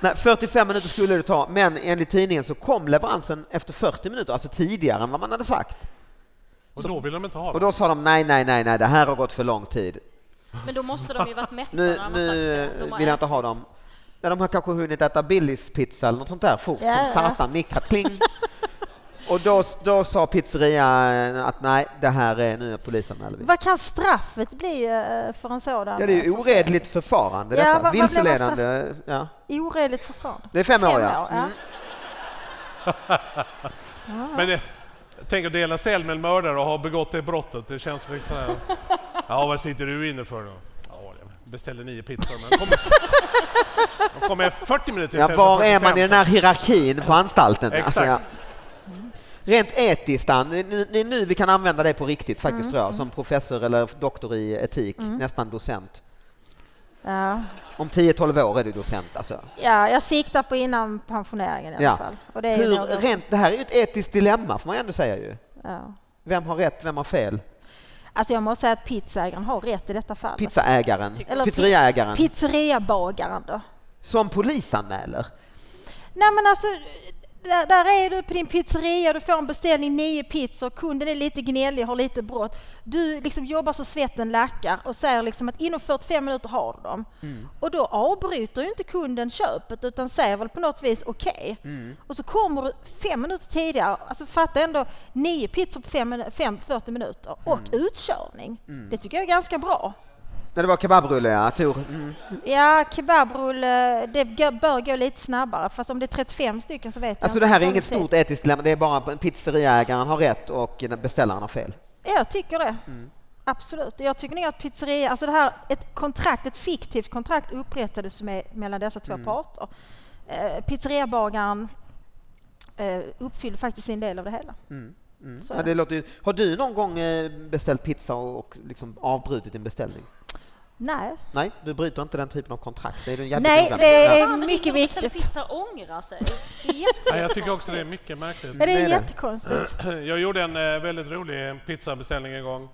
C: nej, 45 minuter skulle det ta, men enligt tidningen så kom leveransen efter 40 minuter, alltså tidigare än vad man hade sagt.
B: och då vill de inte ha
C: Och
B: det.
C: då sa de nej, nej, nej, nej, det här har gått för lång tid.
E: Men då måste de ju varit mätta
C: Nu,
E: när de har
C: nu
E: sagt det. De har
C: vill jag inte
E: ätit.
C: ha dem. Ja, de har kanske hunnit äta Billys pizza eller något sånt där fort
D: Ja,
C: som
D: ja.
C: satan, mikrat kling. Och då, då sa pizzerian att nej, det här är, nu är polisanmäler vi.
D: Vad kan straffet bli eh, för en sådan?
C: Ja, det är ju
D: eh,
C: oredligt förfarande
D: Ja,
C: detta.
D: vad- vad blev man
C: Vilseledande. Ja.
D: försäljning? Oredligt förfarande.
C: Det är fem, år, ja.
D: ja.
C: Mm.
B: Men det, tänk att dela cell med en mördare och ha begått det brottet. Det känns liksom här. Ja, vad sitter du inne för då? Ja, jag beställde nio pizzor, men de kommer, de kommer 40 minuter
C: Ja,
B: istället för
C: var är
B: 45,
C: man i den här hierarkin på anstalten? Alltså,
B: Exakt.
C: ja. Rent etiskt, Dan, det är nu- det är nu vi kan använda
D: Mm,
C: dig på riktigt faktiskt tror jag, som professor eller doktor i etik, nästan docent.
D: Ja.
C: Om 10-12 år är du docent alltså.
D: ja, jag siktar på innan pensioneringen i alla
C: Ja.
D: fall. Och det är ju några-
C: Hur, rent, det här är ju ett etiskt dilemma får man ju ändå säga ju.
D: ja.
C: Vem har rätt, vem har fel?
D: Alltså jag måste säga att pizzaägaren har rätt i detta fall.
C: Pizzaägaren,
D: Eller
C: pizzeriaägaren,
D: Pizzeriabagaren då?
C: som polisanmäler.
D: Nej men alltså, där, där är du på din pizzeria, du får en beställning, nio pizzor, kunden är lite gnällig, har lite brått. Du liksom jobbar så svetten lackar och säger liksom att inom 45 minuter har du dem.
C: Mm.
D: Och då avbryter ju inte kunden köpet utan säger väl på något vis okej.
C: Mm.
D: Och så kommer du fem minuter tidigare, alltså fatta ändå nio pizzor på fem, minu- fem 40 minuter och
C: Mm.
D: utkörning. Det tycker jag är ganska bra.
C: När det var kebabrulle, ja. Tur. Mm.
D: Ja, kebabrulle, det gö- bör gå lite snabbare. Fast om det är 35 stycken så vet jag
C: Alltså
D: inte
C: det här är
D: vad
C: inget
D: säger.
C: stort etiskt dilemma, det är bara att pizzeriaägaren har rätt och beställaren har fel.
D: Ja, jag tycker det.
C: Mm.
D: Absolut. Jag tycker nog att pizzeria, alltså det här, ett kontrakt, ett fiktivt kontrakt upprättades med, mellan dessa två
C: Mm.
D: parter. Eh, pizzeriabagaren eh, uppfyllde faktiskt sin del av det hela. Så är
C: Men Mm. det låter ju, har du någon gång eh, beställt pizza och och liksom avbrutit din beställning?
D: Nej,
C: Nej, du bryter inte den typen av kontrakt. Det är du jävligt
D: Nej,
C: noga med.
D: det
C: Ja.
D: är
E: Fan,
D: mycket
E: Rickard Olsen
D: viktigt.
E: Pizza ångrar sig.
B: Nej, jag tycker också det är mycket märkligt.
D: Ja, det
C: det
D: är
C: är Eh, det.
D: jättekonstigt.
B: Jag gjorde en eh, väldigt rolig pizzabeställning en gång.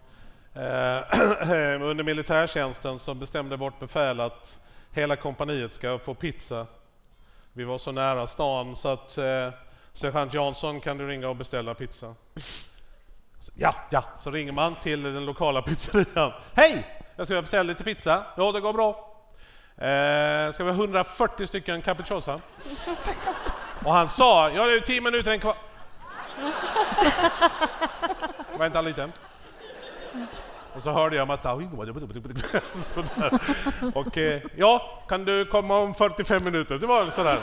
B: Eh, Under militärtjänsten så bestämde vårt befäl att hela kompaniet ska få pizza. Vi var så nära stan så att eh, sergeant Jansson kan du ringa och beställa pizza. Så, Ja, ja, så ringer man till den lokala pizzerian. Hej! Jag ska beställa lite pizza. Ja, det går bra. Eh, ska vi ha 140 stycken capricciosa? Och han sa, ja det är ju 10 minuter en kvar. Vänta lite. Och så hörde jag Matta... Sådär. Och eh, ja, kan du komma om 45 minuter? Det var sådär.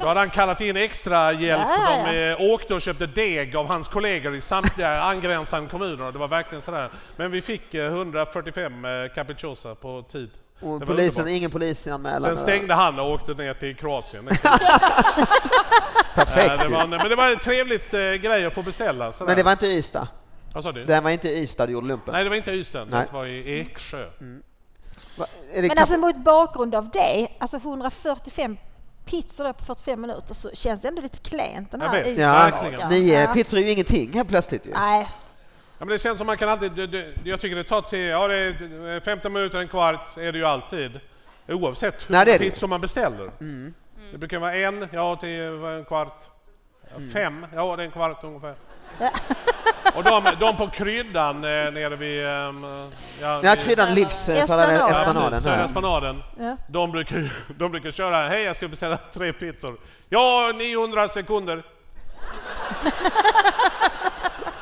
B: Då hade han kallat in extra hjälp.
D: Ja, ja,
B: De eh, åkte och köpte deg av hans kollegor i samtliga angränsande kommuner. Och Det var verkligen sådär. Men vi fick eh, 145 eh, capricciosa på tid. Det
C: Och
B: var
C: polisen,
B: underbart.
C: ingen polisanmälan.
B: Sen stängde han och åkte ner till Kroatien.
C: Perfekt.
B: Eh, det var, en- men det var en trevligt eh, grej att få beställa. Sådär.
C: Men det var inte Ystad.
B: Vad sa du?
C: Det var inte Ystad du gjorde lumpen.
B: Nej, det var inte Ystad.
C: Nej. Mm.
B: Det var i Eksjö.
C: Va- Är det
D: Men
C: kap-
D: alltså mot bakgrund av det, alltså 145 pizzor där på 45 minuter så känns det ändå lite klent den
B: Jag
D: här
B: vet,
D: isen.
C: ja,
B: verkligen.
C: nio
D: Ja.
C: pizzor är ju ingenting helt plötsligt ju.
D: Nej,
B: Ja, men det känns som man kan alltid... Det, det, jag tycker det tar till... Ja, det är 15 minuter, en kvart är det ju alltid. Oavsett hur
C: Nej, det är
B: många
C: det ju. Mm.
B: pizzor man beställer. Det brukar vara en, ja till en kvart.
C: Mm.
B: Fem, ja det är en kvart ungefär. Och de, de på kryddan eh, nere vid... ehm, Ja,
C: Ja,
B: vid-
C: kryddan livssalladen,
D: Espanaden.
B: Ja, precis,
C: espanaden.
B: Södra
C: här.
B: Espanaden.
D: Ja.
B: De, brukar, ju- de brukar köra, hej jag ska beställa tre pizzor. Ja, 900 sekunder.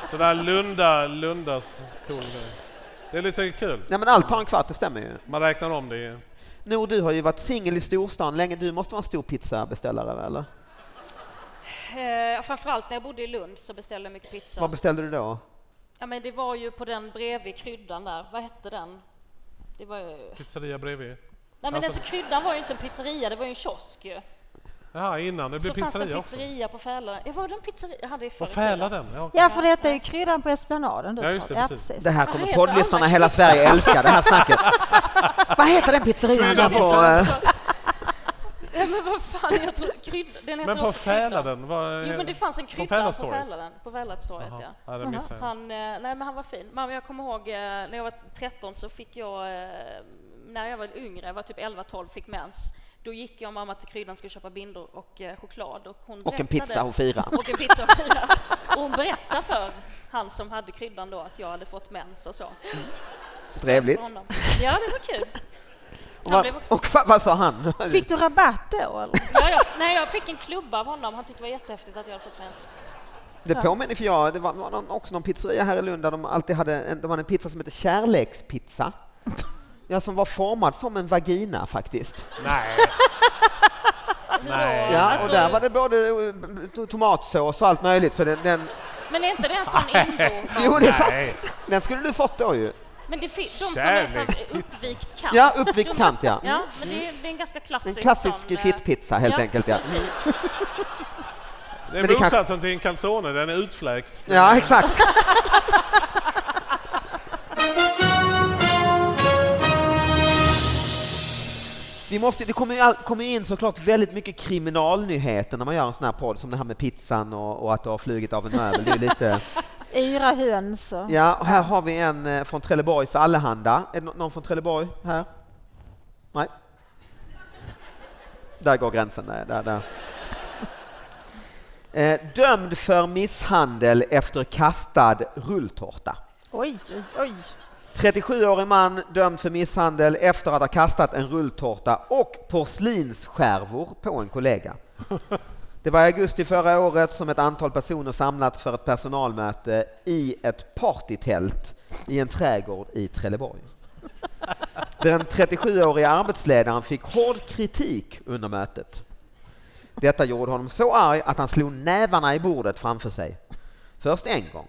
B: Sådär Lunda, Lundas cool grej. Det är lite kul.
C: Nej men allt tar en kvart, det stämmer ju.
B: Man räknar om det. i-
C: Nor, du har ju varit singel i storstan länge. Du måste vara en stor pizzabeställare eller?
E: Eh, framförallt när jag bodde i Lund så beställde jag mycket
C: Vad
E: pizza.
C: beställde du då?
E: Ja, men det var ju på den bredvid kryddan där. Vad hette den? Det var ju...
B: Pizzeria bredvid.
E: Nej, men
B: Alltså-
E: alltså, kryddan var ju inte en pizzeria, det var ju en kiosk ju.
B: Jaha, innan det blev
E: Så fanns det
B: pizzeria
E: en
B: också.
E: pizzeria på Fälaren. Ja, var det en pizzeria? Jag hade ju förr
B: Vad
E: i
B: fäla
E: tiden.
B: den? Ja, okej.
D: ja för detta är ju kryddan på Esplanaden. Du
B: Ja, just
D: tar.
B: det, precis.
C: Det här
E: Vad
C: kommer
E: heter
C: poddlyssnarna i
E: alla
C: hela Sverige älska, det här snacket. Vad heter den pizzerian där på... eh,
E: Ja, men vad fan, jag tror kryddan... Den heter
B: Men på
E: också kryddan.
B: fäla den? Vad,
E: Jo, men det fanns en
B: På
E: krydda på
B: Fäladstorget?
E: Fälaren. På Fäladstorget,
B: Jaha,
E: ja.
B: ja, det missade jag.
E: Han, eh, nej, men han var fin. Men jag kommer ihåg eh, när jag var 13 så fick jag, eh, när jag var yngre, jag var typ 11-12, fick mens. Då gick jag och mamma till kryddan skulle köpa bindor och eh, choklad. Och, hon
C: Och en
E: berättade-
C: pizza och fira.
E: Och en pizza och fira. Och hon berättade för han som hade kryddan då att jag hade fått mens och så.
C: Trevligt.
E: För honom. Ja, det var kul.
C: Och
E: Han
C: vad,
E: blev också,
C: och vad, vad sa han?
D: Fick du rabatt då? Eller?
E: ja, jag, nej, jag fick en klubba av honom. Han tyckte det var jättehäftigt att jag hade fått mens.
C: Det påminner för jag, det var, var någon, också någon pizzeria här i Lund där de alltid hade en, de hade en pizza som hette kärlekspizza. Ja, som var formad som en vagina faktiskt.
B: Nej. Nej.
C: Ja,
E: Alltså-
C: och där var det både eh, tomatsås och allt möjligt. Så den, den,
E: Men är inte det en sån indo?
C: jo, det är
B: Nej.
C: sant. Den skulle du fått då ju.
E: Men det fi- de som är så här uppvikt kant.
C: Ja, uppvikt kant ja.
E: Ja, men det är, det är en ganska
C: Mm. En
E: klassisk
C: klassisk
E: sån, eh,
C: fittpizza helt
E: ja,
C: enkelt ja. Mm.
E: Precis.
B: Det
C: Men
B: är
C: det kan-
B: motsatsen till en calzone, den är utfläkt.
C: Ja, exakt. Vi måste, det kommer ju, all, kommer ju in såklart väldigt mycket kriminalnyheter när man gör en sån här podd, som det här med pizzan och, och att du har flugit av en möbel. Det är ju lite...
D: Yra höns och...
C: Ja, och här har vi en eh, från Trelleborgs Allehanda. Är det nå- någon från Trelleborg här? Nej. Där går gränsen. Där, där, där. Eh, dömd för misshandel efter kastad rulltårta.
D: Oj, oj, oj.
C: 37-årig man dömd för misshandel efter att ha kastat en rulltårta och porslinsskärvor på en kollega. Det var i augusti förra året som ett antal personer samlats för ett personalmöte i ett partytält i en trädgård i Trelleborg. Den 37-åriga arbetsledaren fick hård kritik under mötet. Detta gjorde honom så arg att han slog nävarna i bordet framför sig. Först en gång,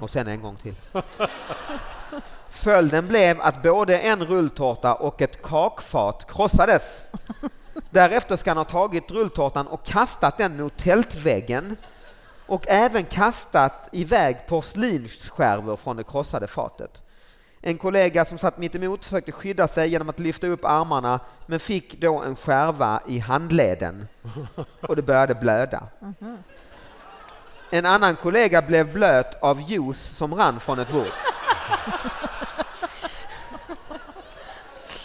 C: och sen en gång till. Följden blev att både en rulltårta och ett kakfat krossades. Därefter ska han ha tagit rulltårtan och kastat den mot tältväggen och även kastat iväg porslinsskärvor från det krossade fatet. En kollega som satt mitt emot försökte skydda sig genom att lyfta upp armarna men fick då en skärva i handleden och det började blöda. En annan kollega blev blöt av juice som rann från ett bord.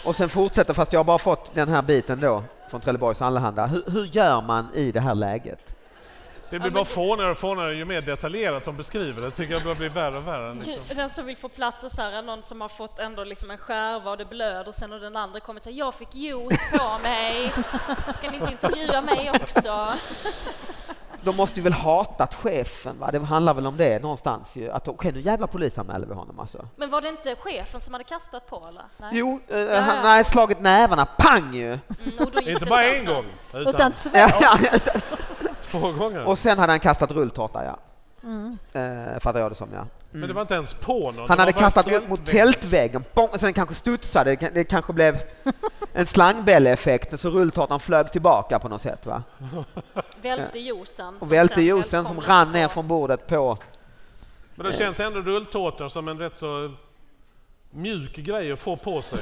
C: Och sen fortsätter, fast jag har bara fått den här biten då från Trelleborgs Allehanda. Hur, hur gör man i det här läget?
B: Det blir bara fånigare och fånigare ju mer detaljerat de beskriver det. tycker jag bara blir värre och värre. Liksom.
E: Den som vill få plats är så här, någon som har fått ändå liksom en skärva och det blöder sen och den andra kommer säga jag fick juice på mig, ska ni inte intervjua mig också?
C: De måste ju väl hatat chefen, va? det handlar väl om det någonstans ju. Att okej, nu jävla polisanmäler vi honom alltså.
E: Men var det inte chefen som hade kastat på eller? Nej.
C: Jo, eh, han, nej, slagit nävarna, pang ju!
E: Mm, och då gick
B: Inte
E: det
B: bara en
E: sönder.
B: gång, utan,
D: Utan två.
C: Ja, ja,
B: två gånger.
C: Och sen hade han kastat rulltårta, ja. Eh, fattar jag det som, ja.
B: Men det var inte ens på någon.
C: Han
B: det
C: hade
B: var bara
C: kastat
B: tältvägg.
C: mot tältväggen, bong, så den kanske studsade, Det kan- det kanske blev en slangbälleeffekt så rulltårtan flög tillbaka på något sätt. Va?
E: Välte juicen.
C: Och välte
E: sen
C: juicen som
E: välkommen
C: rann ner
E: på.
C: från bordet på...
B: Men det känns ändå rulltårtor som en rätt så mjuk grej att få på sig.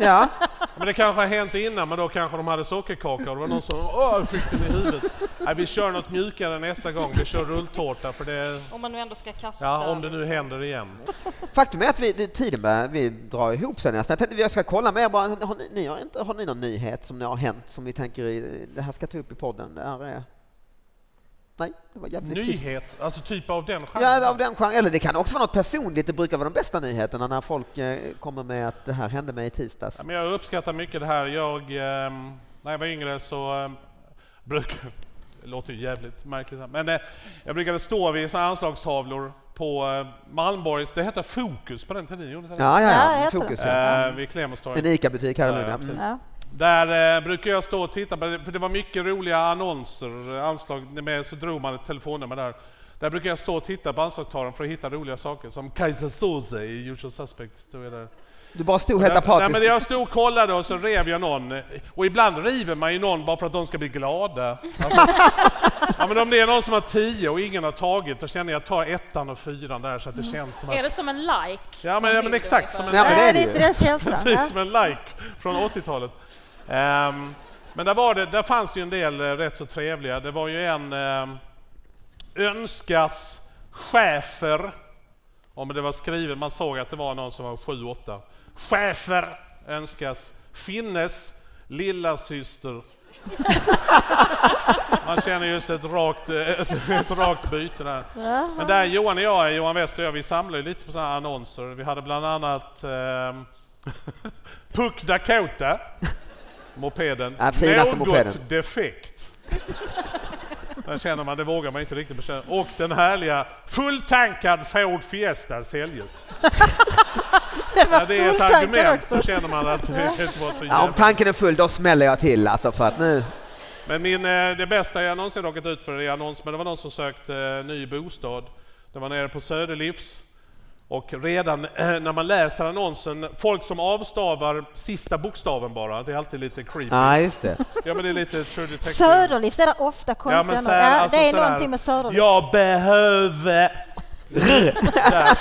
C: Ja,
B: Men det kanske har hänt innan, men då kanske de hade sockerkaka och det var någon som åh, jag fick den i huvudet. Nej, vi kör något mjukare nästa gång, vi kör rulltårta för det...
E: Om man nu ändå ska kasta.
B: Ja, om det nu
E: så.
B: händer igen.
C: faktum är att vi, det- tiden börjar, vi drar ihop sig nästan. Jag tänkte jag ska kolla med er bara, har ni, ni har, inte, har ni någon nyhet som ni har hänt som vi tänker i, det här ska ta upp i podden? Det här är... Nej, det var jävligt tyst.
B: Nyhet, alltså typ av den genren.
C: Ja, av den genren. Eller det kan också vara något personligt. Det brukar vara de bästa nyheterna när folk eh, kommer med att det här hände mig i tisdags.
B: Ja, men jag uppskattar mycket det här. Jag, ehm, när jag var yngre så ehm, brukade... Det låter ju jävligt märkligt här. Men eh, jag brukade stå vid såna här anslagstavlor på eh, Malmborgs... Det hette Fokus på den tiden, gjorde det inte det?
C: Ja,
D: Ja,
C: ja, ja.
D: jag tror
C: Fokus.
D: det.
C: Ja.
B: Eh, vid Clemens torg.
C: En ICA-butik här i
B: Ja,
C: Lund.
B: ja,
C: Ja,
B: precis.
C: Mm.
D: Ja.
B: Där eh, brukar jag stå och titta på det, för det var mycket roliga annonser, eh, anslag, med, så drog man ett telefonnummer där. Där brukar jag stå och titta på anslagstavlan för att hitta roliga saker, som Kajsa Soze i Usual Suspects. Stod jag där.
C: Du bara stod helt
B: Nej, men
C: apatiskt.
B: jag stod och kollade och så rev jag någon. Och ibland river man ju någon bara för att de ska bli glada. Alltså, ja, men om det är någon som har tio och ingen har tagit, då känner jag att jag tar ettan och fyran där så att det känns som att...
E: Är det som en like?
B: Ja, men, ja, men exakt. Som en
C: Ja, men det är
D: Nej,
C: det
D: det är
C: ju.
D: inte den känslan.
B: Precis
D: Ja.
B: som en like från 80-talet. Ehm, men där, var det, där fanns det ju en del eh, rätt så trevliga. Det var ju en ehm, Önskas chefer. Om det var skrivet, man såg att det var någon som var 7-8. Chefer önskas finnes lilla syster. Man känner just ett rakt, ett, ett rakt byte där. Men där Johan och jag, Johan Wester och jag, vi samlar ju lite på sådana här annonser. Vi hade bland annat ehm, Puck Dakota, mopeden.
C: Ja, finaste
B: Något
C: mopeden.
B: defekt. Där känner man, det vågar man inte riktigt bekänna. Och den härliga fulltankad Ford Fiesta säljes.
D: Det var
B: När det är ett
D: fulltankad
B: argument
D: också.
B: så känner man att det var så
C: Ja, om
B: jävla...
C: tanken är full, då smäller jag till alltså för att nu...
B: Men min, eh, det bästa jag någonsin råkat ut för är annons, men det var någon som sökte eh, ny bostad. Det var nere på Söderlivs. Och redan eh, när man läser annonsen, folk som avstavar sista bokstaven bara, det är alltid lite creepy.
C: Ja, just det.
B: Ja men det är lite true detective.
D: Söderlivs det är det ofta
B: Ja,
D: konstiga
B: men
D: ja,
B: så här, alltså
D: Det är
B: så här,
D: någonting med Söderlivs.
B: Jag behöver... Där.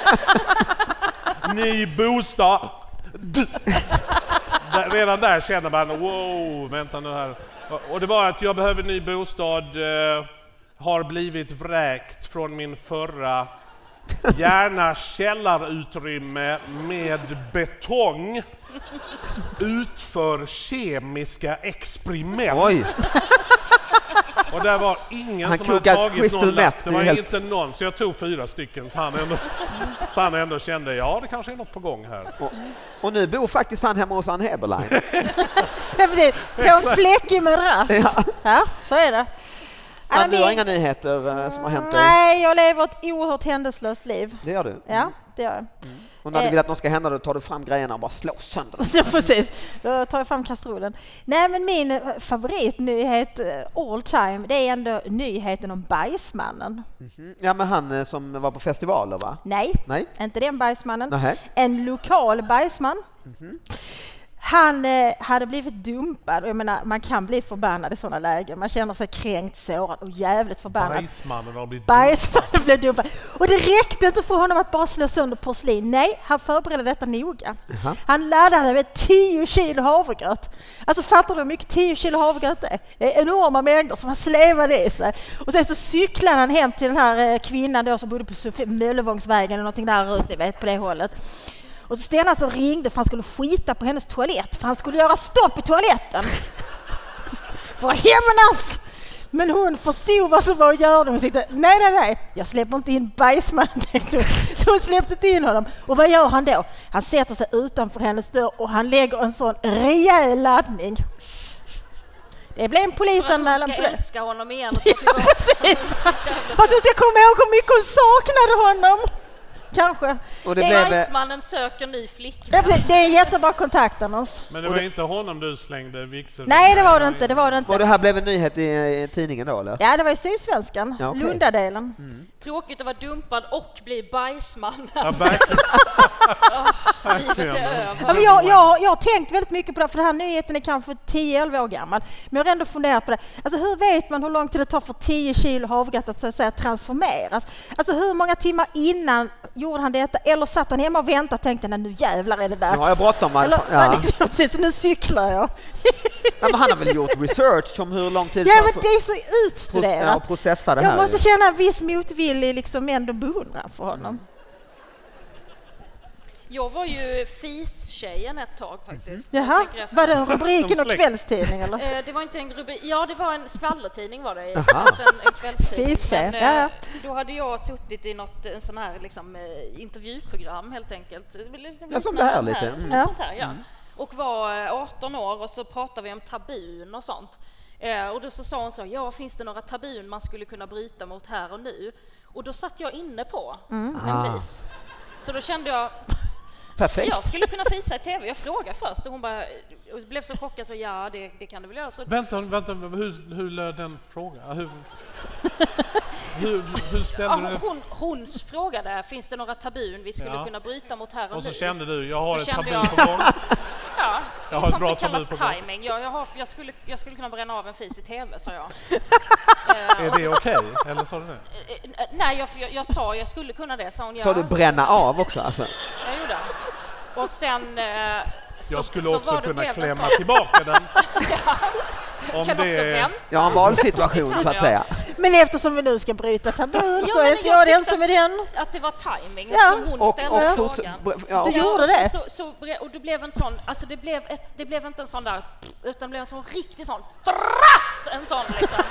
B: Ny bostad. D. där- redan där känner man wow, vänta nu här. Och det var att jag behöver ny bostad, eh, har blivit vräkt från min förra, gärna källarutrymme med betong, utför kemiska experiment.
C: Oj!
B: Och där var ingen
C: Han
B: som hade
C: kokar
B: tagit
C: crystal
B: någon lapp.
C: meth,
B: Det
C: det är
B: var
C: helt-
B: inte någon, så jag tog fyra stycken så han, ändå, så han ändå kände, ja det kanske är något på gång här.
C: Och, och nu bor faktiskt han hemma hos Ann Heberlein.
D: Ja, precis. På en fläckig madrass. Ja. så är det.
C: Ann, du
D: det-
C: har inga nyheter eh, som har hänt dig?
D: Nej, jag lever ett oerhört händelslöst liv.
C: Det gör du.
D: Ja, det gör jag.
C: Och när du
D: Eh.
C: vill att något ska hända då tar du fram grejerna och bara slår sönder dem.
D: Så precis, då tar jag fram kastrullen. Nej men min eh, favoritnyhet eh, all time, det är ändå nyheten om bajsmannen.
C: Ja, men han eh, som var på festivaler va?
D: Nej,
C: Nej?
D: inte den bajsmannen.
C: Nähä. Mhm.
D: En lokal bajsman. Han eh, hade blivit dumpad och jag menar, man kan bli förbannad i sådana lägen. Man känner sig kränkt, sårad och jävligt förbannad.
B: Bajsmannen har blivit
D: Bajsmannen blev dumpad. Och det räckte inte för honom att bara slå sönder porslin. Nej, han förberedde detta noga.
C: Jaha.
D: Han laddade med 10 kilo havregröt. Alltså fattar du hur mycket 10 kilo havregröt är? Det är enorma mängder som han slevade i sig. Och sen så cyklade han hem till den här eh, kvinnan då som bodde på Sofie- Möllevångsvägen eller någonting där ute, vet på det hållet. Och så Sten alltså ringde för han skulle skita på hennes toalett, för han skulle göra stopp i toaletten för att hämnas! Men hon förstod vad som var att göra och hon tyckte nej, nej, nej, jag släpper inte in bajsmannen, tänkte hon. Så hon släppte inte in honom. Och vad gör han då? Han sätter sig utanför hennes dörr och han lägger en sån rejäl laddning. Det blev en
E: För att hon
D: polisanmälan
E: ska
D: på det.
E: älska honom igen och ta
D: Ja,
E: tillbaka
D: precis! För att hon ska komma ihåg hur mycket hon saknade honom. Kanske.
C: Och det
D: Det är
C: blev... eh,
E: Bajsmannen söker ny flickvän.
D: Det är- det är en jättebra kontaktannons.
B: Men det var inte honom du slängde vigseln
D: Nej, det var det inte. Det var det
C: Och det
D: inte.
C: här blev en nyhet i, i tidningen då eller?
D: Ja, det var i Sydsvenskan,
C: Ja, okej.
D: Lundadelen.
E: Tråkigt att vara dumpad och bli bajsman.
B: Ja, verkligen.
E: Livet
B: verkligen.
E: är över.
D: Ja, men jag, jag, jag har tänkt väldigt mycket på det, här, för den här nyheten är kanske 10-11 år gammal. Men jag har ändå funderat på det. Alltså, hur vet man hur lång tid det tar för 10 kilo havregröt att, så att säga, transformeras? Alltså, hur många timmar innan gjorde han detta? Eller satt han hemma och väntade och tänkte "Nej, nu jävlar är det dags?
C: Nu har jag bråttom. va?
D: Eller,
C: Ja.
D: liksom, precis, nu cyklar jag.
C: Nej, men han har väl gjort research om hur lång tid
D: Ja,
C: tar
D: men
C: för-
D: det är så
C: pro- ja,
D: utstuderat.
C: att processa det här.
D: Jag måste
C: ju.
D: känna en viss motvillig liksom ändå beundran för honom.
E: Jag var ju fis-tjejen ett tag faktiskt.
D: Mm-hmm. Jaha,
E: tänker efter.
D: var det rubriken
B: Som
D: och
B: släkt.
D: kvällstidning eller?
E: Eh, Det var inte en rubrik, ja det var en skvallertidning var det,
C: Jaha.
E: inte en, en kvällstidning.
D: Fis-tjej,
E: Men,
D: ja,
E: eh,
D: ja.
E: Då hade jag suttit i något eh, sån här liksom, eh, intervjuprogram helt enkelt. Det blir liksom
C: Ja, som
E: liknande
C: det här lite.
E: som
D: Mm.
E: sånt här, ja. Och var eh, 18 år och så pratade vi om tabun och sånt. Eh, Och då så sa hon så, ja finns det några tabun man skulle kunna bryta mot här och nu? Och då satt jag inne på
C: Mm. Ah.
E: en fis. Så då kände jag,
C: Perfekt.
E: jag skulle kunna fisa i TV. Jag frågade först och hon bara, och blev så chockad så ja det, det kan du väl göra. Så
B: Vänta, vänta, hur, hur löd den frågan? Hur, hur, hur
E: Ja,
B: ställde du
E: hon,
B: den?
E: hon, hon frågade, finns det några tabun vi skulle
B: Ja.
E: kunna bryta mot här och,
B: Och så
E: nu?
B: kände du, jag har
E: Så
B: ett
E: kände
B: tabu
E: jag-
B: på gång.
E: ja,
B: jag
E: jag
B: har ett
E: sånt
B: bra
E: som
B: tabu
E: kallas
B: på gång.
E: timing. Jag, jag, har, jag, skulle, jag skulle kunna bränna av en fis i TV, sa jag.
B: Är det okej? Eller sa du det?
E: Eh, eh, Nej, jag, jag, jag sa jag skulle kunna det, sa hon. Ja,
C: Sa du bränna av också alltså?
E: jag gjorde. Och sen... eh, så,
B: Jag skulle
E: så
B: också
E: var det- blev
B: kunna
E: det
B: klämma
E: så-
B: tillbaka den. Om
E: Kan också
B: det är...
E: vänta.
C: Ja, en valsituation så att säga.
D: Men eftersom vi nu ska bryta tabun så
E: men
D: är inte jag den
E: tyckte
D: som är
E: att-
D: den.
E: Att det var timing,
D: Ja.
E: eftersom hon
C: Och,
E: ställde
C: och forts-
E: frågan.
C: br- ja,
D: Du
C: och-
D: gjorde det?
E: Så, så, bre- och det blev en sån, alltså det blev, ett, det blev inte en sån där, utan det blev en sån riktig sån, dratt, en sån liksom.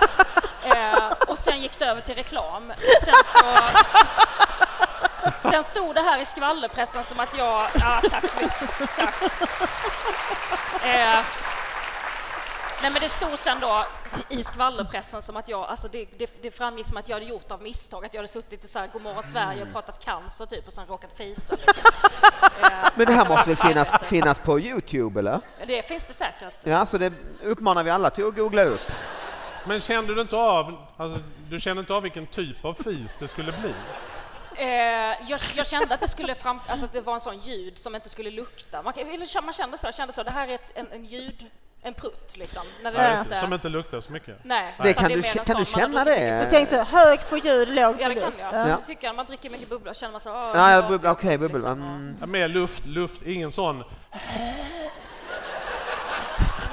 E: eh, och sen gick det över till reklam. Och Sen så, sen stod det här i skvallerpressen som att jag, ja tack så mycket, tack. Eh, Nej men det stod sen då i skvallerpressen som att jag, alltså det, det, det framgick som att jag hade gjort av misstag, att jag hade suttit i så här Godmorgon Sverige
D: Mm.
E: och pratat cancer typ och sen råkat fisa. Liksom. Eh,
C: Men det här måste väl
E: alltså,
C: finnas, finnas på Youtube eller?
E: Det finns det säkert.
C: Ja, så det uppmanar vi alla till att googla upp.
B: Men kände du inte av, alltså, du kände inte av vilken typ av fis det skulle bli?
E: Eh, jag, jag kände att det skulle fram, alltså att det var en sån ljud som inte skulle lukta. Man, kan- eller man kände så, jag kände så, det här är ett, en, en ljud, en prutt liksom. När det
B: Nej,
E: inte,
B: Som inte luktar så mycket?
E: nej,
C: Det
E: utan
C: kan,
E: är
C: du,
E: mer en
C: kä- kan
E: sån
C: du
E: man har
C: känna
E: druckit-
D: Jag
C: det?
D: tänkte hög på ljud, låg
E: Ja,
D: på
E: det kan
D: luft.
E: jag.
D: Ja.
E: Jag tycker man dricker mycket bubbla och känner man så... ah,
C: Ja,
E: ja,
C: Mm. jag bubblar, okej, bubbla.
E: liksom.
C: Mm.
B: Ja, mer luft, luft, ingen sån...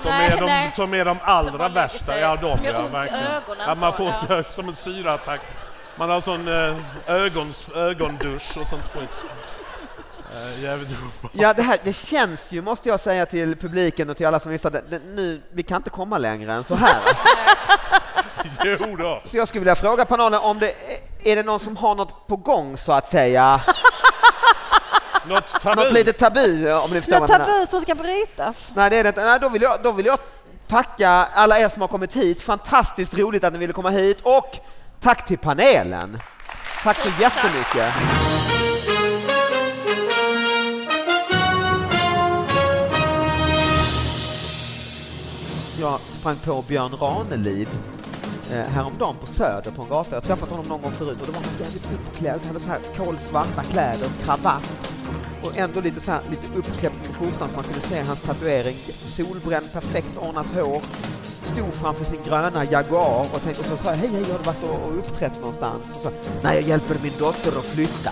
B: Som,
E: Nej,
B: är, de,
E: nej.
B: som är de allra
E: Som man lägger
B: värsta.
E: sig-
B: Ja, de
E: som gör
B: ja,
E: ont i
B: verkligen.
E: ögonen
B: Ja, man
E: så,
B: får
E: ja.
B: som en syraattack. Man har sån eh, ögons, ögondusch och sånt skit. Eh, jävligt obehagligt.
C: Ja, det, här, det känns ju, måste jag säga till publiken och till alla som lyssnar, det, det, nu, vi kan inte komma längre än så här. Alltså.
B: Jo då.
C: Så jag skulle vilja fråga panelen om det är det någon som har något på gång så att säga?
B: Något tabu.
C: Något litet tabu om ni förstår vad
D: Något
C: jag menar.
D: tabu som ska brytas.
C: Nej, det är det inte. Nej, då, vill jag, då vill jag tacka alla er som har kommit hit. Fantastiskt roligt att ni ville komma hit och tack till panelen. Tack så jättemycket. Jag sprang på Björn Ranelid eh, häromdagen på Söder på en gata. Jag har träffat honom någon gång förut och då var han jävligt uppklädd. Han hade så här kolsvarta kläder, kravatt och ändå lite, så här, lite uppkläppt på skjortan så man kunde se hans tatuering. Solbränd, perfekt ordnat hår. Stod framför sin gröna Jaguar och, tänkte, och så sa jag, hej hej, har du varit och, och uppträtt någonstans? Och så, Nej, jag hjälper min dotter att flytta.